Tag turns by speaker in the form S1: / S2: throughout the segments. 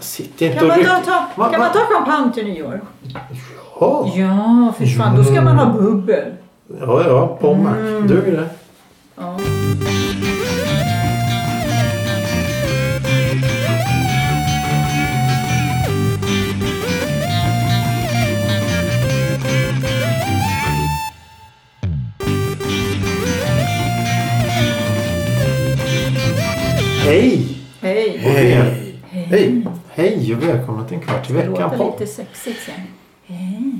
S1: Sitt inte
S2: Kan
S1: och
S2: man
S1: ryck.
S2: ta, ta,
S1: Va-
S2: kan
S1: va-
S2: man ta champagne till nyår?
S1: Ja,
S2: Ja, för fan. Då ska man ha bubbel.
S1: ja, ja Pommac.
S2: Mm.
S1: Duger det?
S2: Ja.
S1: Hej!
S2: Hej.
S1: Hej! Hej! Hej och välkomna till en kvart i
S2: Det låter
S1: veckan podd.
S2: lite sexigt sen.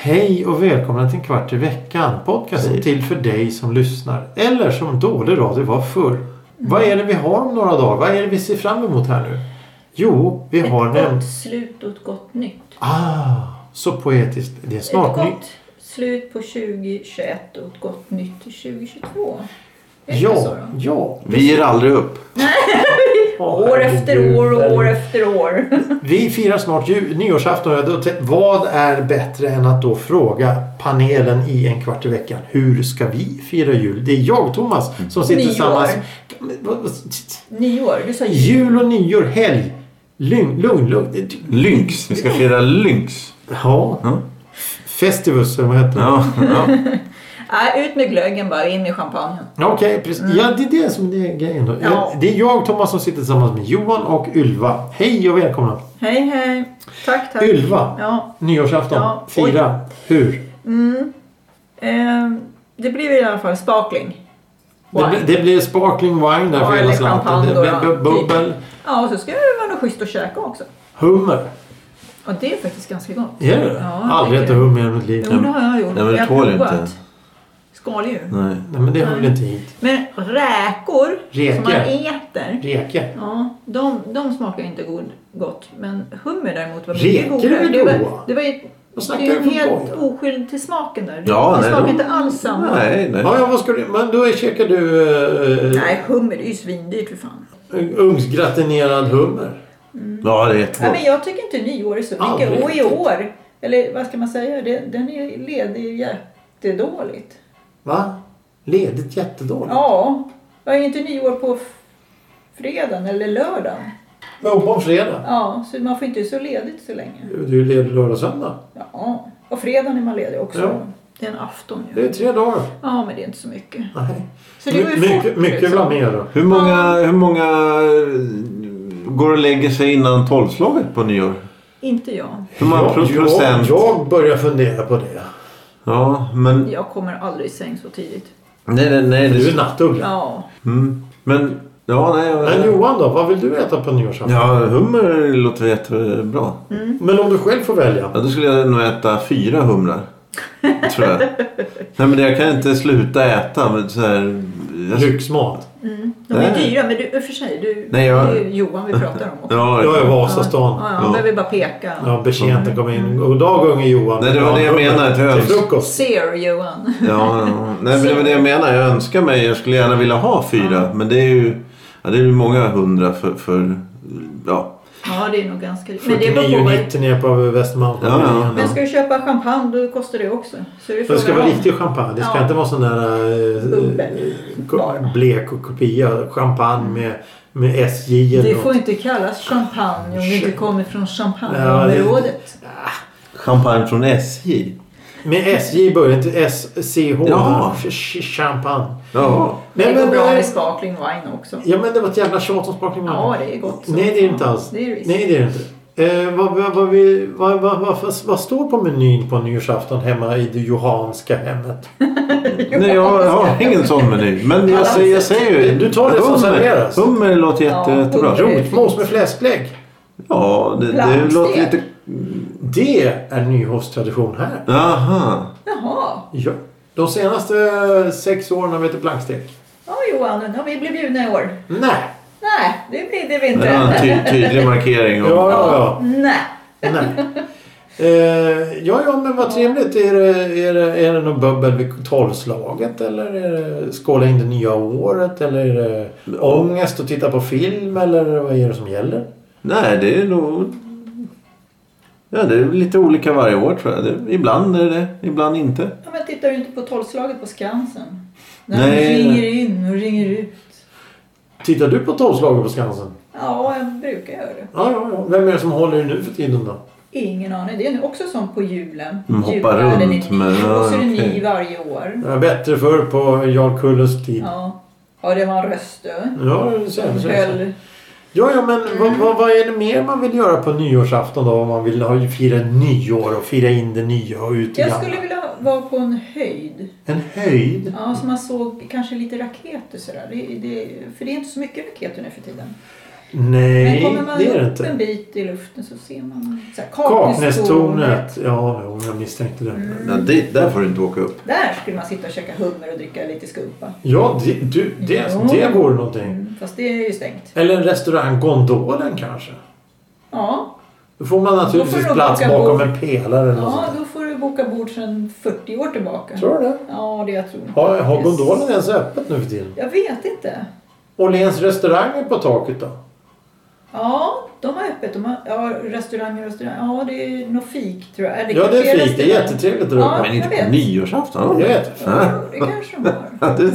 S1: Hej och välkomna till en kvart i veckan. Podcasten till för dig som lyssnar. Eller som dålig radio var förr. Vad är det vi har om några dagar? Vad är det vi ser fram emot här nu? Jo, vi
S2: Ett
S1: har nämnt...
S2: gott slut och ett gott nytt.
S1: Ah, så poetiskt. Det är snart
S2: ett
S1: nytt.
S2: gott slut på 2021 och ett gott nytt till 2022. Är det inte så
S1: Ja,
S2: då?
S1: ja.
S3: Vi ger aldrig upp.
S2: År efter år och år efter år.
S1: Vi firar snart ju, nyårsafton. och jag då tänk- Vad är bättre än att då fråga panelen i en kvart i veckan. Hur ska vi fira jul? Det är jag, Thomas, som sitter
S2: Nyår.
S1: tillsammans.
S2: Nyår. Du sa jul.
S1: Jul och nyår, helg. Lugn, lugn, lugn.
S3: Lynx. Vi ska fira Lynx.
S1: Ja.
S3: Ja.
S1: Festivus, eller vad heter det?
S3: Ja, ja.
S2: Nej, Äh, ut med glöggen bara. In i champagnen.
S1: Ja. Okej, precis. Ja, det är det som det är grejen då.
S2: Ja.
S1: Det är jag, Thomas, som sitter tillsammans med Johan och Ylva. Hej och välkomna.
S2: Hej, hej. Tack, tack.
S1: Ylva.
S2: Ja.
S1: Nyårsafton.
S2: Ja, oj.
S1: Fira. Hur?
S2: Ehm, det blir i alla fall sparkling.
S1: Det,
S2: Wine.
S1: blir- det blir sparkling wine där
S2: Ja,
S1: för hela
S2: eller
S1: slanten.
S2: champagne
S1: Det
S2: då,
S1: blir
S2: ja. Typ.
S1: bu- bubbel.
S2: Ja, och så ska det vara något schysst att käka också.
S1: Hummer.
S2: Ja, det är faktiskt ganska gott.
S1: Är det
S2: Ja,
S1: Aldrig
S2: det
S1: ätit
S2: är
S1: hummer i hela mitt liv.
S2: Jo, det har jag gjort.
S3: Nej, men det
S2: jag
S3: tål ju
S2: provat.
S3: inte.
S2: Skaldjur.
S3: Nej.
S1: Nej, men det hör väl inte hit.
S2: Men räkor
S1: Räkor.
S2: som man äter.
S1: Reke.
S2: Ja, de, de smakar ju inte god, gott. Men hummer däremot var
S1: Räkor
S2: mycket godare.
S1: är
S2: Det
S1: goda.
S2: var, det var ju
S1: Vad
S2: det
S1: snackar
S2: är ju
S1: du för
S2: helt
S1: skoj?
S2: oskyldig till smaken där.
S3: Ja,
S2: det
S3: nej,
S2: smakar
S3: de-
S2: inte alls samma. Nej.
S3: Nej, nej.
S1: Ja, ja, vad ska du... Men då käkar du eh,
S2: hummer det är ju svindyrt för fan.
S1: ugnsgratinerad hummer.
S3: Ja, det är
S2: Nej,
S3: jättegott.
S2: men jag tycker inte nyår är så
S1: Aldrig.
S2: mycket. Och i år, eller vad ska man säga, det, den är ledig jättedåligt.
S1: Va? Ledigt jättedåligt.
S2: Ja, jag är inte nyår på f- fredagen eller lördagen.
S1: Jo, på en fredag.
S2: Ja, så man får inte så ledigt så länge.
S1: Du är ledig lördag och söndag.
S2: Ja, och fredagen är man ledig också.
S1: Ja.
S2: Det är en afton
S1: Det
S2: ju.
S1: är tre dagar.
S2: Ja, men det är inte så mycket.
S1: Nej.
S2: Så det går ju
S1: My- mycket
S2: fort,
S1: mycket
S2: liksom.
S1: bland mer då.
S3: Hur många, hur många eh, går och lägger sig innan tolvslaget på nyår?
S2: Inte jag.
S3: Hur många
S1: Ja,
S3: pro-
S1: jag,
S3: procent?
S1: jag börjar fundera på det.
S3: Ja, men...
S2: Jag kommer aldrig i säng så tidigt.
S3: Nej, nej, nej.
S1: Du är
S3: Det,
S1: nattuggla.
S2: Ja,
S3: mm, men... Ja, nej.
S1: Men
S3: Jag,
S1: Johan då, vad vill du äta på nyårsafton?
S3: ja, hummer låter jättebra.
S1: Men om du själv får välja.
S3: Ja, då skulle jag nog äta fyra humrar. Tror jag. Nej, men jag kan inte sluta äta. Men så här, jag,
S1: Lyxmat.
S2: Mm. de är
S3: Nej.
S2: dyra, men du, i och för sig, du,
S3: Nej, jag-
S2: det är ju Johan vi pratar om också.
S3: Ja,
S1: Jag är
S2: Ja,
S1: Vasastan.
S2: ja, han behöver bara peka.
S1: Ja, betjänten kom in. God dag unge Johan.
S3: Nej, det var det jag menade, ett öl.
S1: Till frukost.
S2: Ser Johan.
S3: Ja, ja. Nej, men det var det jag menar. Jag önskar mig, jag skulle gärna vilja ha fyra.
S1: Mm.
S3: Men det är ju ja, det är ju många hundra för, för ja.
S2: Ja, det är nog ganska dyrt. Men det beror på vad...
S1: 49,90 nere på Västermalm.
S3: Ja, ja,
S2: Men ska du köpa champagne då kostar det också. Så är
S1: Det ska
S2: frågan
S1: vara
S2: om-
S1: riktig champagne. Det ska
S2: Ja.
S1: inte vara sån där eh,
S2: Bubbel.
S1: eh,
S2: Bara.
S1: ko- blek och kopia. Champagne med, med SJ eller
S2: Det
S1: något.
S2: får inte kallas champagne om det inte kommer från champagneområdet.
S3: Champagne från SJ.
S1: Med SJ i början till SCH.
S3: Ja.
S1: Ch- ch- Champagne.
S3: Ja.
S2: Det
S1: Nej,
S2: går
S1: men,
S2: bra
S1: eh,
S2: med sparkling wine också.
S1: Ja men det var ett jävla tjat om sparkling
S2: Ja, det är gott. som
S1: Nej det är det
S2: fan.
S1: inte alls.
S2: Mm. Det är risk.
S1: Nej det är det inte. Eh, vad, vad, vad, vi, vad, vad, vad, vad, vad står på menyn på nyårsafton hemma i det johanska hemmet?
S3: Nej, jag, jag har ingen sån meny. Men jag, säger- jag säger ju...
S1: Du tar det som serveras.
S3: Hummer låter jätte,
S2: Ja,
S3: jättebra.
S2: hummer.
S1: Rotmos med fläsklägg.
S3: Ja, det, det
S2: Lammstek.
S3: låter lite...
S1: Det är nyhovstradition här.
S3: Aha.
S2: Jaha.
S1: Ja. De senaste eh, sex åren har vi ätit plankstek.
S2: Ja Johan, nu har vi blivit bjudna i år.
S1: Nej.
S2: Nej, det blir det vi inte.
S3: Det var en
S1: typ-
S3: ty, tydlig markering.
S1: Ja, ja, ja.
S2: Nej.
S1: Nej. Eh, ja, ja, men vad trevligt. Är det, är det, är det någon bubbel vid tolvslaget? Eller är det skåla in det nya året? Eller är det ångest att titta på film? Eller vad är det som gäller?
S3: Nej, det är nog... Ja, det är lite olika varje år tror jag. Det, ibland är det det, ibland inte.
S2: Ja, men tittar du inte på tolvslaget på Skansen? När
S3: Nej.
S2: de ringer in och ringer ut.
S1: Tittar du på tolvslaget på Skansen?
S2: Ja, jag brukar göra det.
S1: Ja, ja, ja. Vem är det som håller i nu för tiden då?
S2: Ingen aning. Det är nu också som på julen.
S3: Mm, hoppa
S2: Julvärlden är
S3: runt
S2: ny
S3: med- ja,
S2: och så är det ny
S3: okej.
S2: varje år.
S1: Det var bättre förr på Jarl Kulles tid.
S2: Ja. ja, det var en röstö.
S1: Ja, det ser- ser-
S2: Höll.
S1: ja, ja men vad, vad, vad är det mer man vill göra på nyårsafton då? Om man vill ha, fira nyår och fira in det nya och ut i
S2: Jag
S1: gamla?
S2: skulle vilja vara på en höjd.
S1: En höjd?
S2: Ja, så man såg kanske lite raketer sådär. Det, det, för det är inte så mycket raketer nu för tiden. Men
S1: Nej,
S2: kommer man
S1: det är det
S2: upp en
S1: inte.
S2: bit i luften så ser man så här,
S1: Kaknästornet. Ja, jo, jag misstänkte det.
S2: Mm.
S3: Ja, dit, där får du inte åka upp.
S2: Där skulle man sitta och käka hummer och dricka lite skumpa.
S1: Ja, det, du, det,
S2: Ja.
S1: det vore någonting.
S2: Fast det är ju stängt.
S1: Eller en restaurang Gondolen kanske.
S2: Ja,
S1: Då får man
S2: Då får
S1: naturligtvis
S2: de
S1: plats
S2: åka
S1: bakom
S2: bord.
S1: en pelare eller något
S2: ja
S1: sånt.
S2: då får du boka bord sedan 40 år tillbaka.
S1: Tror du det?
S2: Ja, det jag tror inte.
S1: Har, har
S2: Yes.
S1: Gondolen ens öppet nu för tiden?
S2: Jag vet inte.
S1: Åhléns restaurang är på taket då?
S2: Ja, de har öppet. De har, ja, restaurang och restaurang. Ja, det är nog fik tror jag. Eller
S1: Ja, det
S2: kanske
S1: är fint. Det är
S2: restaurang.
S1: jättetrevligt där
S2: Ja.
S1: uppe.
S3: Men inte
S2: jag
S3: på
S2: vet.
S1: Jag
S3: nyårsafton.
S1: vet.
S2: Ja, det kanske de har.
S3: Ja, det,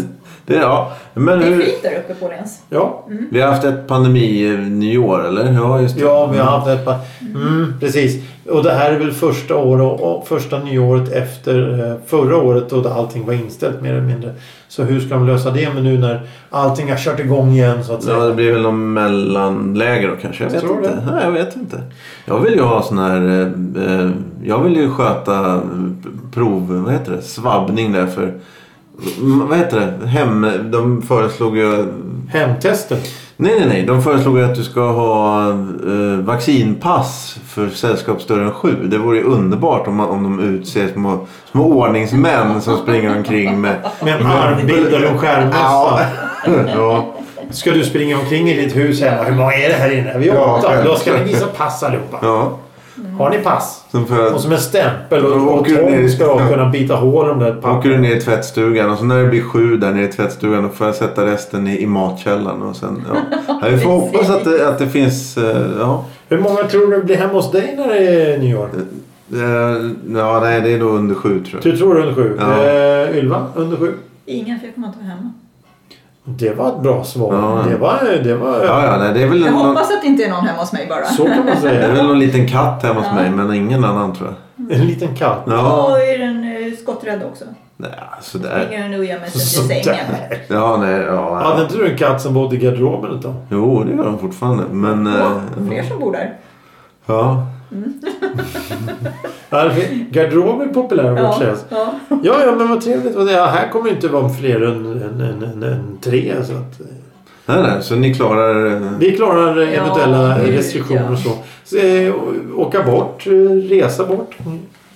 S3: det, ja. Men
S2: Det är
S3: hur,
S2: fint där uppe på Åhléns.
S1: Ja.
S3: vi har haft ett pandemi-nyår, eller? Ja, just det.
S1: ja, vi har haft ett par... Mm, precis. Och det här är väl första året och, och första nyåret efter eh, förra året då allting var inställt mer eller mindre. Så hur ska de lösa det med nu när allting har kört igång igen så att säga?
S3: Ja, det blir väl någon mellanläger då kanske. Jag vet
S1: Tror du
S3: inte. Nej, jag vet inte. Jag vill ju ha sån här... eh, eh, Jag vill ju sköta eh, prov... Vad heter det? Svabbning där för... m- Vad heter det? Hem... De föreslog ju...
S1: Hemtester.
S3: Nej, nej, nej. De föreslog ju att du ska ha eh, vaccinpass för sällskap större än sju. Det vore ju underbart om, man, om de utser små, små ordningsmän som springer omkring med...
S1: Med en armbindel och en skärmmössa.
S3: Ja. ja.
S1: Ska du springa omkring i ditt hus hemma? Hur många är det här inne? Vi är
S3: Ja,
S1: åtta.
S3: själv.
S1: Då ska ni visa pass allihopa.
S3: Ja.
S1: Har ni pass?
S3: Sen får jag...
S1: Och som en stämpel och,
S3: Då
S1: och,
S3: åker du ner
S1: tång
S3: i-
S1: ska de
S3: ja.
S1: kunna bita hål i de där
S3: Då åker
S1: pappren.
S3: du ner i tvättstugan och så när det blir sju där nere i tvättstugan då får jag sätta resten i, i matkällaren och sen ja. ja vi får hoppas att det, att det finns eh, ja.
S1: Hur många tror du blir hemma hos dig när det är nyår?
S3: Eh, Ja nej det är nog under sju tror jag.
S1: Du tror under sju.
S3: Ja.
S1: Eh, Ylva, under sju.
S2: Ingen, för jag kommer inte vara hemma.
S1: Det var ett bra svar.
S3: Ja.
S1: Det var... Det var
S3: Ja ja nej det är väl
S2: Jag
S3: någon,
S2: hoppas att det inte är någon hemma hos mig bara.
S1: Mm. Så kan man
S3: det är
S1: säga.
S3: väl någon liten katt hemma hos
S2: Ja.
S3: mig men ingen annan tror jag.
S1: En liten katt.
S3: Ja. alltså,
S2: Och är den eh, skotträdd också.
S3: Nej sådär.
S2: Springer den och gömmer sig
S1: Sådär.
S2: till sängen.
S3: Ja nej ja.
S1: Hade
S3: ja.
S1: inte du en katt som bodde i garderoben ett tag?
S3: Jo det gör de fortfarande men.
S2: Ja,
S3: eh,
S2: fler som bor där.
S3: Ja.
S1: Ja, Garderob är populär i vårt
S2: Ja,
S1: län.
S2: ja.
S1: Ja, ja, men vad trevligt. vad det- Ja, här kommer ju inte vara fler än, än, än, än, än tre. Så att, eh,
S3: Nej nej så ni klarar. eh,
S1: vi klarar eh,
S2: Ja,
S1: eventuella
S2: gud,
S1: restriktioner
S2: ja.
S1: och så. så eh, å- åka bort, eh, resa bort.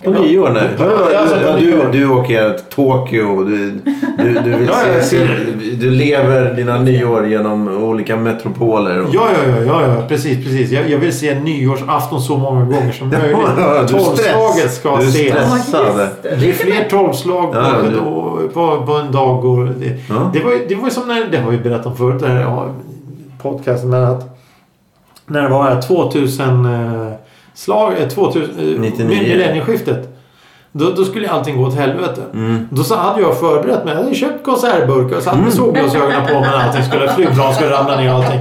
S3: På nyår nej.
S1: Ja, ja, ja, alltså, på
S3: Ja, du,
S1: nyår.
S3: du åker till Tokyo. Du, du, du, vill
S1: Ja, ja,
S3: se,
S1: jag ser
S3: se, du lever dina nyår genom olika metropoler. Och,
S1: Ja, ja, ja, ja, ja precis. precis. Jag, jag vill se nyårsafton så många gånger som
S3: ja,
S1: möjligt.
S3: du är stress.
S1: Tolvslaget ska
S3: Du är
S1: ses.
S3: stress.
S2: Ja,
S3: Stressade.
S2: just det.
S1: Det är fler tolvslag på,
S3: Ja,
S1: en-
S3: du-
S1: och- på, på en dag. Och det,
S3: Ja.
S1: det, var, ju- det var ju som när, det har vi berättat om förut, det här ja, podcasten, men att när det var 2000 eh, slag, eh, 2000, eh,
S3: 99.
S1: millennieskiftet. Då, då skulle allting gå åt helvete.
S3: Mm.
S1: Då så hade jag förberett mig. Jag hade köpt konservburkar och satt med solglasögonen på mig när allting skulle, flygplan skulle ramla ner och allting.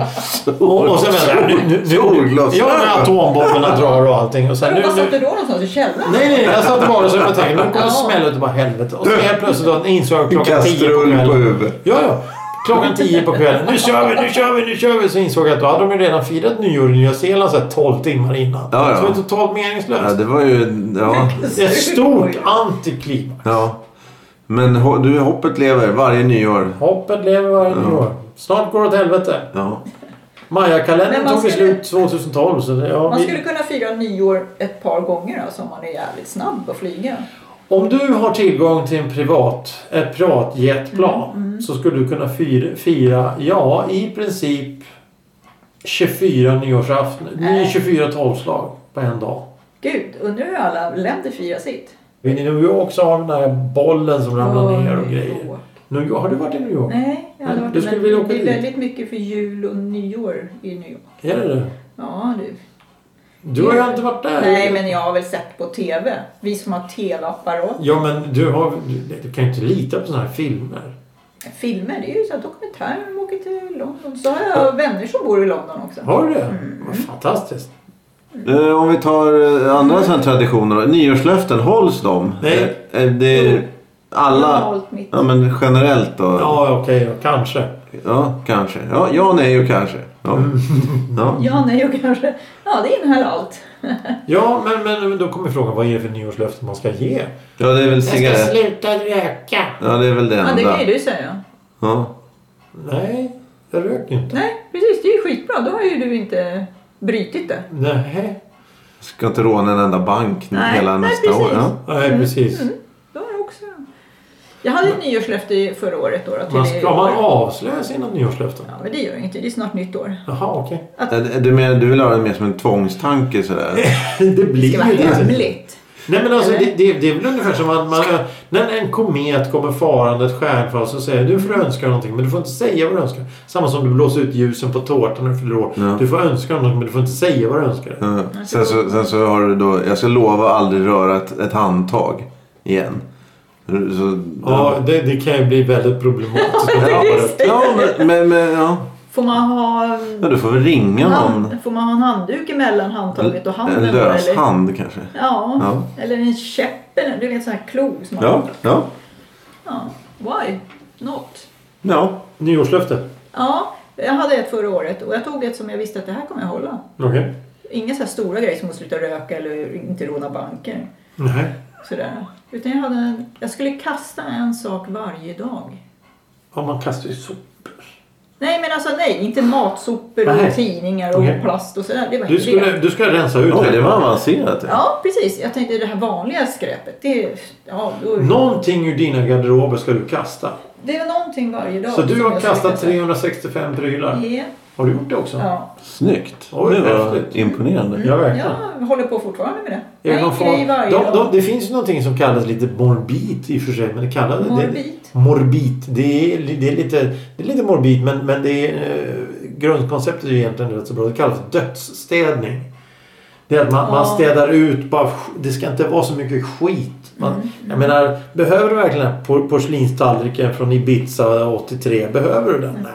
S1: Och, och sen vände jag. Nu, nu, nu,
S3: Solglasögon.
S1: ja, när atombomberna drar och allting. Och sen, nu,
S2: Men Vad
S1: nu,
S2: satt du då någonstans? I källaren?
S1: Nej, nej, jag satt bara så jag tänkte nu kommer det smälla ut och bara helvete. Och så helt plötsligt då insåg jag klockan tio på
S3: Kastrull på
S1: kvällen.
S3: huvudet.
S1: Ja, ja. Klockan tio på kvällen. Nu kör vi, nu kör vi, nu kör vi. Så insåg jag att då hade de ju redan firat nyår i Nya Zeeland så här 12 timmar innan.
S3: Ja, ja.
S1: Så det var totalt
S3: Ja,
S1: meningslöst.
S3: det var ju... Ja.
S1: Det är ett stort antiklimax.
S3: ja. Men ho- du, hoppet lever varje nyår.
S1: Hoppet lever varje nyår. Snart går det åt helvete.
S3: Ja.
S1: Maja-kalendern
S2: Men man
S1: tog ju
S2: skulle-
S1: slut 2012 så det- ja,
S2: Man
S1: vi-
S2: skulle kunna fira nyår ett par gånger alltså, om man är jävligt snabb och flyga.
S1: Om du har tillgång till en privat, ett privatjetplan
S2: Mm,
S1: så skulle du kunna fira, fira ja, i princip 24 nyårsafton,
S2: Nej.
S1: 24 tolvslag på en dag.
S2: Gud, undrar hur alla länder firar sitt.
S1: I New York så har vi den här bollen som ramlar
S2: Åh,
S1: ner och
S2: New
S1: grejer.
S2: York.
S1: New York, har du varit i New York?
S2: Nej, jag har
S1: Men
S2: aldrig
S1: du
S2: varit
S1: skulle
S2: men
S1: vilja åka
S2: Det är
S1: dit.
S2: väldigt mycket för jul och nyår i New York.
S1: Är det det?
S2: Ja, du.
S1: Du har ju inte varit där.
S2: Nej, men jag har väl sett på TV. Vi som har TV-apparat.
S1: Ja, men du, har, du, du kan ju inte lita på sådana här filmer.
S2: Filmer, det är ju så här dokumentärer om åker till London. Så har jag vänner som bor i London också.
S1: Har du det? Vad fantastiskt.
S3: Eh, Om vi tar eh, andra sådana traditioner då. Nyårslöften, hålls de?
S1: Nej.
S3: Eh, eh, Det är
S2: Jag har
S3: alla...
S2: hållit mitt.
S3: Ja men generellt då?
S1: Ja, okej då. Kanske.
S3: Ja, kanske. Ja, ja nej och kanske. Ja.
S2: Mm.
S3: Ja.
S2: Ja, nej och kanske. Ja, det innehöll allt.
S1: Ja, men, men, men då kommer frågan vad är det för nyårslöfte man ska ge?
S3: ja, det är väl cigarett.
S1: sluta röka.
S3: Ja, det är väl det
S2: Ja, det
S3: enda.
S2: kan ju du säga.
S3: Ja.
S1: Nej, jag röker inte.
S2: Nej, precis. Det är ju skitbra. Då har ju du inte brutit det.
S1: Nej,
S3: Ska inte råna en enda bank nu
S2: Nej,
S3: hela
S2: nej,
S3: nästa
S2: precis.
S3: år. Ja.
S1: Nej precis.
S2: Då har du också... Jag hade ett nyårslöfte förra året. Då, då, till
S1: Man
S2: det
S1: ska man
S2: året.
S1: avslöja sina nyårslöften?
S2: Ja, men det gör inget. Det är snart nytt år.
S1: Jaha, okej.
S3: Eh, Du menar du vill ha det mer som en tvångstanke sådär?
S1: Det
S2: Det
S1: blir
S2: ska vara
S1: ju inte.
S2: hemligt.
S1: Nej men alltså
S2: Eller?
S1: det, det, det är väl ungefär som att man, när en komet kommer farande ett stjärnfall så säger du får önska någonting men du får inte säga vad du önskar. Samma som du blåser ut ljusen på tårtan när du fyller år.
S3: Ja.
S1: Du får önska någonting men du får inte säga vad du önskar.
S3: Ja. Sen, så, sen så har du då, jag ska lova att aldrig röra ett, ett handtag igen. Så,
S1: Ja, det, det kan ju bli väldigt problematiskt.
S3: Ja, ja, men, men, men ja.
S2: Får man ha...
S3: ja, du får väl ringa någon.
S2: Hand, får man ha en handduk emellan handtaget och handen?
S3: En
S2: då,
S3: lös
S2: eller?
S3: hand kanske.
S2: Ja.
S3: Ja.
S2: eller en käpp. eller- Du vet, sån här klo som man
S3: Ja, ja,
S2: ja. Why not?
S3: ja.
S1: Nyårslöfte.
S2: Ja, jag hade ett förra året och jag tog ett som jag visste att det här kommer jag hålla.
S1: Okej.
S2: Inga så här stora grejer som att sluta röka eller inte råna banker.
S1: Nej.
S2: Sådär. Utan jag, hade en, jag skulle kasta en sak varje dag.
S1: Ja, man kastar ju sopor.
S2: Nej men alltså nej, inte matsopor och
S1: Nej.
S2: tidningar och
S1: Okej.
S2: plast och sådär. Det var
S1: Du
S2: inte
S1: skulle,
S2: det.
S1: du ska rensa ut
S3: Oj,
S1: här.
S3: det var avancerat. Ja.
S2: Ja precis, jag tänkte det här vanliga skräpet. Det, ja, då,
S1: Någonting ur dina garderober ska du kasta.
S2: det var någonting varje dag.
S1: Så du
S2: som
S1: har
S2: jag skulle
S1: kastat
S2: kasta.
S1: 365 prylar.
S2: Ja,
S1: Har du gjort det också?
S2: ja.
S3: Snyggt.
S1: Oj,
S3: det var
S1: häftigt.
S3: imponerande.
S1: Ja, verkligen.
S2: Jag håller på fortfarande med det.
S1: Är det, någon
S2: en grej
S1: form,
S2: varje
S1: de,
S2: dag.
S1: de, det finns ju någonting som kallas lite morbid i och för sig. Men det kallas,
S2: Morbid?
S1: Det, morbid. Det är, li- det är lite, det är lite morbid men, men det är, eh, grundkonceptet är ju egentligen rätt så bra. Det kallas dödsstädning. Det är att man, man
S2: Ja.
S1: städar ut bara, sk- det ska inte vara så mycket skit. Man,
S2: Mm,
S1: Jag menar, behöver du verkligen den här por- porslinstallriken från Ibiza 83? Behöver du den? Nej.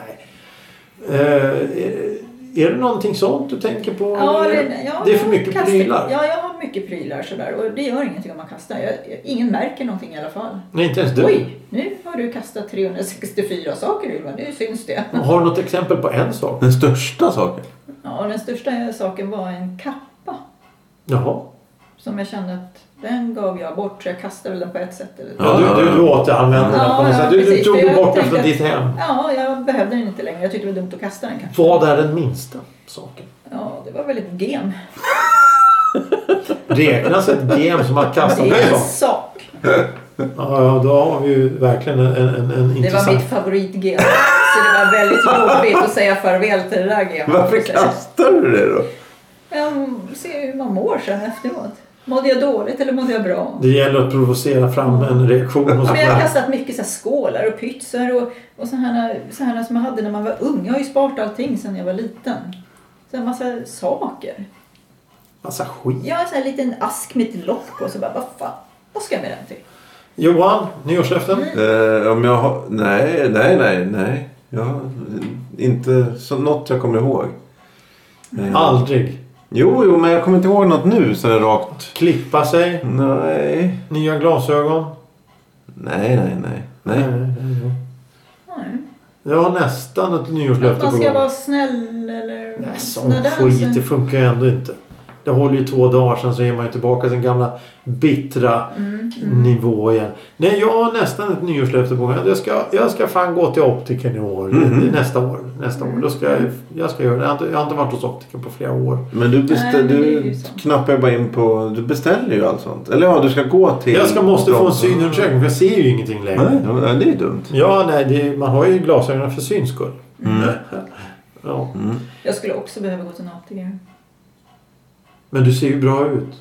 S1: Eh, är- är det någonting sånt du tänker på?
S2: Ja,
S1: eller?
S2: det, ja,
S1: det är för
S2: jag
S1: mycket
S2: kastar-
S1: prylar.
S2: Ja, jag har mycket prylar sådär och det gör ingenting om man kastar. Jag, jag, ingen märker någonting i alla fall.
S1: Nej, inte ens du.
S2: Oj, nu har du kastat 364 saker Ylva, nu syns det.
S1: Har du något exempel på en sak?
S3: Den största saken.
S2: Ja, och den största saken var en kappa
S1: Jaha.
S2: som jag kände att den gav jag bort så jag kastade väl den på ett sätt. Eller?
S1: Ja, du, du, du återanvände den på något
S2: Ja,
S1: sätt.
S2: ja,
S1: Du, du
S2: precis.
S1: tog
S2: Jag
S1: bort den
S2: tänkte
S1: från
S2: att-
S1: ditt hem.
S2: Ja, jag behövde den inte längre. Jag tyckte det var dumt att kasta den kanske.
S1: Vad är den minsta saken?
S2: Ja, det var väl ett gem.
S1: Räknas ett gem som har
S2: Det
S1: kastat en
S2: är en
S1: sak?
S2: sak.
S1: Ja, ja, då har vi ju verkligen en, en, en, en
S2: Det var
S1: intressant...
S2: mitt favoritgem. Så det var väldigt jobbigt att säga farväl till det där gemet.
S3: Varför
S2: Så jag-
S3: kastar du det då?
S2: Jag ser hur man mår sen efteråt. Mådde jag dåligt eller mådde jag bra?
S1: Det gäller att provocera fram en reaktion hos
S2: Men jag har
S1: alla.
S2: kastat mycket så här skålar och pytsar och, och så här, så här som jag hade när man var ung. Jag har ju sparat allting sedan jag var liten. Så en massa saker.
S1: Massa skit.
S2: Jag har en sån här liten ask med ett lock på så bara, vad fan, vad ska jag med den till?
S1: Johan, nyårslöften?
S3: Eh, om jag har... Nej, nej, nej, nej. Ja, inte så, något jag kommer ihåg. Eh,
S1: Aldrig.
S3: Jo, jo, men jag kommer inte ihåg något nu så där rakt.
S1: Klippa sig.
S3: Nej.
S1: Nya glasögon.
S3: Nej, nej, nej.
S2: Mm.
S3: nej.
S2: Nej.
S1: Jag har nästan ett
S2: Att
S1: nyårslöfte
S2: man
S1: på
S2: ska
S1: gång.
S2: vara snäll eller...
S1: Nej,
S3: alltså,
S1: sån
S2: sådana där
S1: skit. Det
S2: saker.
S1: funkar ju ändå inte. Det håller ju två dagar sen så är man ju tillbaka till sin gamla bittra mm. nivå igen. Nej, jag har nästan ett nyårslöfte på mig. Jag ska, jag ska fan gå till optiken i år.
S3: Mhm.
S1: Nästa år. Nästa år. Då ska jag, jag ska göra det. Jag har, inte, jag har inte varit hos optiken på flera år.
S3: Men du,
S2: Nej,
S3: bestä-
S2: men det är
S3: du
S2: ju så.
S3: knappar ju bara in på... Du beställer ju allt sånt. Eller ja, du ska gå till...
S1: Jag ska, måste få en
S3: Bronsen.
S1: synundersökning för jag ser ju ingenting längre.
S3: Nej, ja, det är ju dumt.
S1: Ja, nej, det, man har ju glasögonen för syns skull. Ja.
S2: Jag skulle också behöva gå till en optiker.
S1: Men du ser ju bra ut.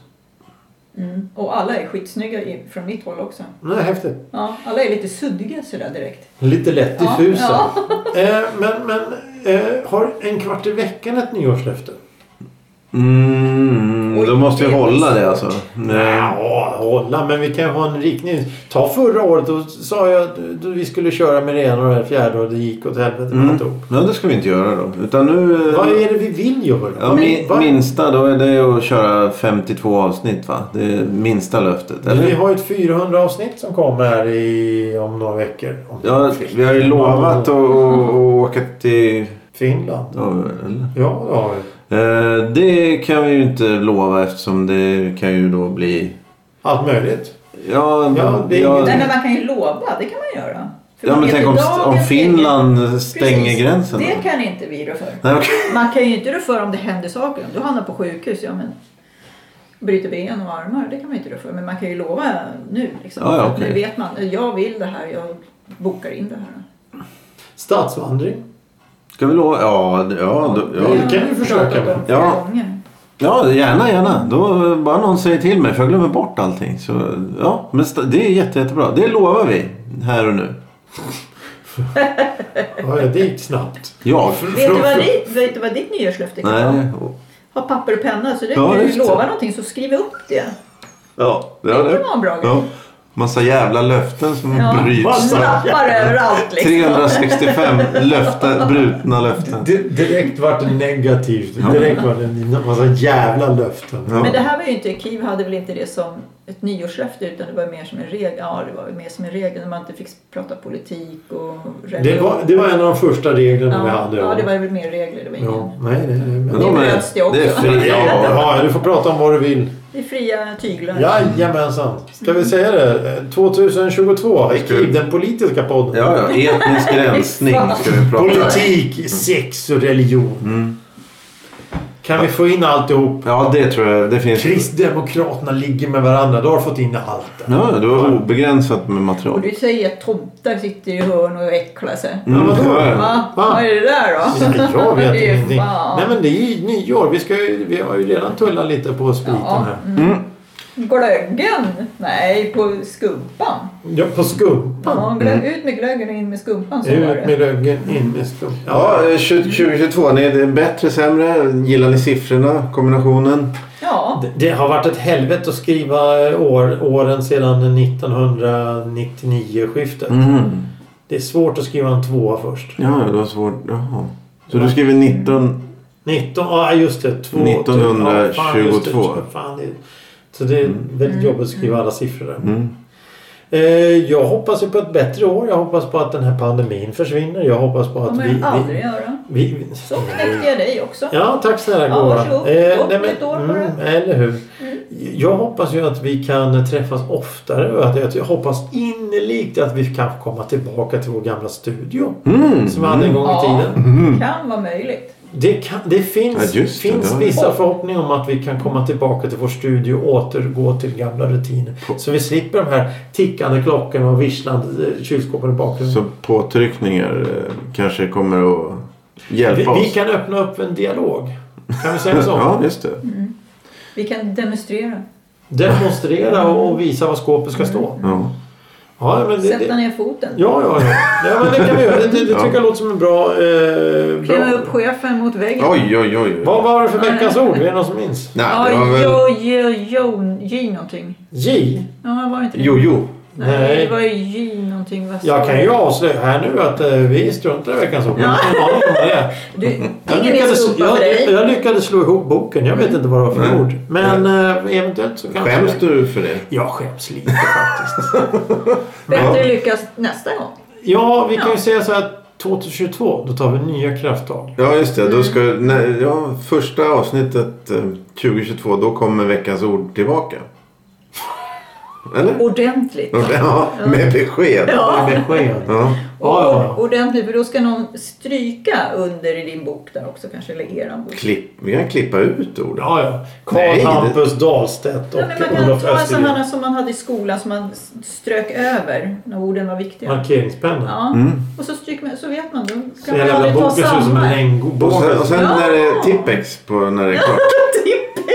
S2: Mm. Och alla är skitsnygga i- från mitt håll också.
S1: Nej, häftigt.
S2: Ja, alla är lite suddiga sådär direkt.
S1: Lite lätt
S2: Ja,
S1: diffusa. Eh, men men eh, har en kvart i veckan ett nyårslöfte?
S3: Mm, Mm, då måste vi hålla det alltså. Nej.
S1: Ja, hålla, men vi kan ha en riktning. Ta förra året, då sa jag att du- vi skulle köra med det ena och det fjärde och det gick åt helvete med
S3: Mm.
S1: alltihop.
S3: Ja, det ska vi inte göra då. Utan nu... eh,
S1: Vad är det vi vill göra?
S3: Ja, min,
S1: Vad-
S3: minsta då är det att köra 52 avsnitt va? Det är minsta löftet.
S1: Men Vi
S3: Eller?
S1: har ju ett 400 avsnitt som kommer i, om några veckor. Om
S3: Ja, vi har ju lovat att, att, att åka till...
S1: Finland.
S3: Ja, eller?
S1: Ja, det har vi.
S3: Eh, Det kan vi ju inte lova eftersom det kan ju då bli...
S1: Allt möjligt.
S3: Ja,
S1: Ja, det är
S2: Nej,
S1: inget-
S2: men man kan ju lova, det kan man göra. För
S3: ja
S2: man
S3: men
S2: vet
S3: tänk
S2: ju
S3: om, om
S2: dagens
S3: Finland stänger
S2: Precis.
S3: gränsen.
S2: Det
S3: då?
S2: kan inte vi rå för.
S3: Nej, okej.
S2: Man kan ju inte rå för om det händer saker. Om du hamnar på sjukhus, ja men bryter ben och armar, det kan man ju inte rå för. Men man kan ju lova nu. Liksom.
S3: Ja, ja,
S2: Att
S3: okej.
S2: Nu vet man, jag vill det här, jag bokar in det här.
S1: Stadsvandring.
S3: Ska vi lova? Ja, det- ja, då,
S1: Ja,
S3: ja.
S1: det kan vi försöka
S2: pratat om
S1: med.
S2: flera
S3: Ja.
S2: gånger.
S3: ja, gärna, gärna. Då eh, bara någon säger till mig för jag glömmer bort allting. Så, ja, men sta- det är jätte, jättebra. Det lovar vi här och nu.
S1: Ja, det gick snabbt.
S3: Ja.
S2: Vet du, vad ditt, vet du vad ditt nyårslöfte kan vara?
S3: Nej.
S2: Ha papper och penna, så det
S3: Ja,
S2: när du
S3: just det.
S2: lovar någonting så skriv upp det.
S3: Ja,
S2: Det kan vara en bra grej.
S3: Ja. Massa jävla löften som
S2: Ja.
S3: bryts.
S2: Lappar överallt liksom.
S3: 365 löften, brutna löften.
S1: Di- direkt vart det negativt. Direkt vart det en massa jävla löften.
S3: Ja.
S2: Men det här var ju inte, Kiv hade väl inte det som ett nyårslöfte utan det var mer som en regel, ja det var ju mer som en regel när man inte fick prata politik och religion.
S1: Det var, det var en av de första reglerna vi
S2: ja,
S1: hade.
S2: ja, det var väl mer regler, det var ingen.
S1: Ja, nej, nej, nej. Men...
S3: Men de är,
S2: bröts det också.
S3: det är fri, ja.
S1: Ja, du får prata om vad du vill.
S2: Det är fria tyglar.
S1: Jajamensan. Ska vi säga det? 2022 i KIV, den politiska podden.
S3: Ja, ja. Etnisk rensning ska vi prata om.
S1: Politik, sex och religion.
S3: Mm.
S1: Kan vi få in alltihop?
S3: Ja, det tror jag. Det finns...
S1: Kristdemokraterna ligger med varandra. Då har du fått in allt.
S3: Ja, du har obegränsat med
S2: Och
S3: material.
S2: du säger att tomtar sitter i hörn och äcklar sig.
S3: Mm.
S1: Men vadå?
S3: ja, ja.
S2: Va?
S1: Va?
S2: Vad är det där då?
S1: Jag vet
S2: Det är
S1: ingenting.
S2: fan.
S1: Nej men det är ju nyår. Vi, ska ju, vi har ju redan tullat lite på spriten
S2: Ja. Mm.
S1: här.
S2: Glöggen? Nej, på skumpan.
S1: Ja, på skum.
S2: Ja, Mm. glö- Ut med glöggen och in med skumpan så var
S1: Ut
S2: det.
S1: med röggen, in med skum.
S3: Ja, eh,
S1: Ja,
S3: 2022. Nej, det är bättre, sämre. Gillar ni siffrorna? Kombinationen?
S2: Ja,
S1: det- det har varit ett helvete att skriva år, åren sedan 1999-skiftet.
S3: Mm.
S1: Det är svårt att skriva en tvåa först.
S3: Ja, det var svårt. Jaha. Så du skriver 19...
S1: 19, ja just det. Två,
S3: 1922.
S1: Ja, fan, just det, fan, det, så det är väldigt
S2: Mm.
S1: jobbigt att skriva alla siffror där.
S3: Mm.
S1: Eh, Jag hoppas ju på ett bättre år. Jag hoppas på att den här pandemin försvinner. Jag hoppas på
S2: det
S1: att
S2: kommer
S1: vi...
S2: jag aldrig
S1: vi, Mm.
S2: göra.
S1: vi, vi
S2: Så knäckte jag dig också.
S1: Ja, tack snälla
S2: Ja,
S1: Gora. Eh,
S2: varsågod. Gott nytt år på
S1: mm, Eller hur. Jag hoppas ju att vi kan träffas oftare och att jag- jag hoppas innerligt att vi kan komma tillbaka till vår gamla studio.
S3: Mm.
S1: Som vi hade en gång i
S2: Ja.
S1: tiden.
S2: Kan vara möjligt.
S1: Det, kan, det finns,
S3: Ja, just det,
S1: finns
S3: det har jag.
S1: vissa förhoppningar om att vi kan komma tillbaka till vår studio och återgå till gamla rutiner. Så vi slipper de här tickande klockorna och visslande eh, kylskåpen i bakgrunden.
S3: Så påtryckningar eh, kanske kommer att hjälpa
S1: vi,
S3: oss.
S1: vi kan öppna upp en dialog. Kan vi säga så?
S3: Ja, just det.
S2: Vi kan demonstrera.
S1: Demonstrera och och visa var skåpet ska stå.
S3: Ja.
S1: Ja, men det,
S2: Sätta
S1: det,
S2: ner foten.
S1: ja, ja, ja. ja men det kan vi göra. Det, det, det tycker
S3: Ja.
S1: jag låter som en bra... Eh,
S2: Klämma
S1: bra.
S2: upp chefen mot väggen.
S3: Oj, oj, oj.
S1: Vad var det för veckans ord? Är det någon som minns?
S3: Nej,
S2: Ja,
S3: det var väl...
S2: jo, jo, jo, J någonting.
S1: J?
S2: Ja, var det inte det?
S3: Jo, jo.
S2: Nej,
S1: Nej.
S2: det var ju J någonting. Vad
S1: Jag
S2: sa
S1: kan
S2: du?
S1: ju avslöja här nu att eh, vi struntar i veckans ord. Jag har inte en aning om vad det är.
S2: Du,
S1: Jag
S2: ingen är
S1: lyckades,
S2: skumpa för
S1: jag,
S2: dig.
S1: jag lyckades slå ihop boken. Jag vet inte vad det var för
S3: Nej.
S1: ord. Men eh, eventuellt så kanske...
S3: Skäms du för det?
S1: Jag skäms lite faktiskt.
S2: Bättre lyckas nästa gång.
S1: Ja, vi kan ju säga så här. 2022, då tar vi nya krafttag.
S3: Ja, just det. Då ska, nej, ja, första avsnittet eh, 2022, då kommer veckans ord tillbaka. Eller?
S2: Ordentligt.
S3: Ja, med besked.
S2: Ja.
S1: Med besked.
S3: Ja.
S1: Ja, ja,
S2: Och, ordentligt, för då ska någon stryka under i din bok där också kanske, eller eran bok.
S3: Klipp, vi kan klippa ut ord.
S1: ja. ja. Karl
S3: Nej, det-
S1: Hampus Dahlstedt och
S2: Ja, men man kan
S1: Olof
S2: ta sådana
S1: Östergren.
S2: som man hade i skolan som man s- strök över när orden var viktiga.
S1: Markeringspennan.
S2: Ja. Och så, stryker man, så vet man, då
S1: Så
S2: kan man
S1: jävla
S2: aldrig ta
S1: boken ser ut som en
S2: samma.
S1: regnbåge.
S3: Och sen, och sen
S2: Ja.
S3: när det är tippex på när det är klart.
S2: Tippex!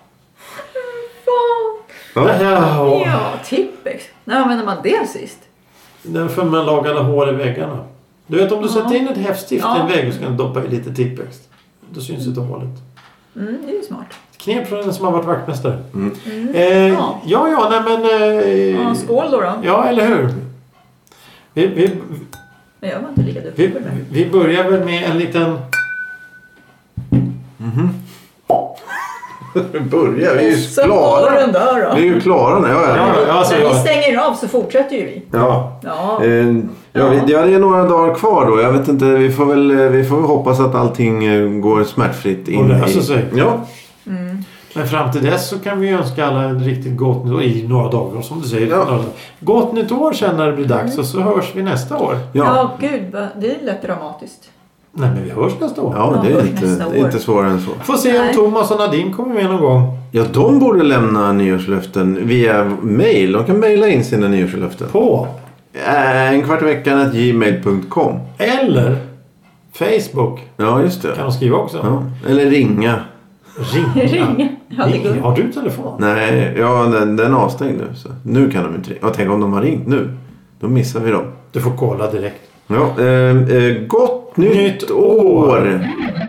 S2: Fan.
S3: Ja.
S1: Ja,
S2: Ja, tippex. När använder man det sist?
S1: den för man lagade hål i väggarna. Du vet om du sätter in ett häftstift i
S2: Ja.
S1: en vägg och ska doppa i lite tippex. Då syns inte hålet.
S2: Mm, det är ju smart.
S1: knep från en som har varit vaktmästare.
S2: Mm.
S1: Eh,
S2: Ja.
S1: ja. ja, nej men...
S2: Ja,
S1: Eh,
S2: skål då. då.
S1: ja, eller hur? Vi, vi,
S2: Men jag var inte lika duktig
S1: vi,
S2: på det där.
S1: vi börjar väl med en liten...
S3: Börja, vi är ju
S2: Så var
S3: klara.
S2: den där då.
S3: Vi är ju klara nu. Ja, ja.
S1: Ja, ja, alltså,
S2: När
S1: jag-
S2: vi stänger av så fortsätter ju vi.
S3: ja.
S2: Ja.
S3: Eh, Ja, vi, ja, det är några dagar kvar då. Jag vet inte, vi får väl, vi får väl hoppas att allting eh, går smärtfritt in
S1: Och löser sig.
S3: Ja,
S1: Men fram till dess så kan vi önska alla en riktigt gott nytt år i några dagar som du säger.
S3: Ja.
S1: Några dagar. Gott nytt år sen när det blir dags
S2: Mm.
S1: och så hörs vi nästa år.
S2: Ja.
S3: ja.
S2: gud, vad- det lät dramatiskt.
S1: Nej men vi hörs nästa år.
S3: ja det är inte,
S2: Nästa år.
S3: det är inte svårare än så.
S1: Får se om
S2: Nej.
S1: Thomas och Nadine kommer med någon gång.
S3: Ja, de borde lämna nyårslöften via mail. De kan mejla in sina nyårslöften.
S1: På
S3: Eh, En kvart i veckan gmail.com.
S1: eller Facebook
S3: Ja, just det.
S1: kan de skriva också.
S3: Ja. Eller ringa.
S1: Ringa.
S2: Ring. Ja, det
S1: Ring.
S2: går.
S1: Har du telefon?
S3: Nej, ja, den, den är avstängd nu. Så. Nu kan de inte ringa. Ja, tänk om de har ringt nu. Då missar vi dem.
S1: Du får kolla direkt.
S3: Ja, eh, eh, gott nytt,
S1: Nytt
S3: år.
S1: år.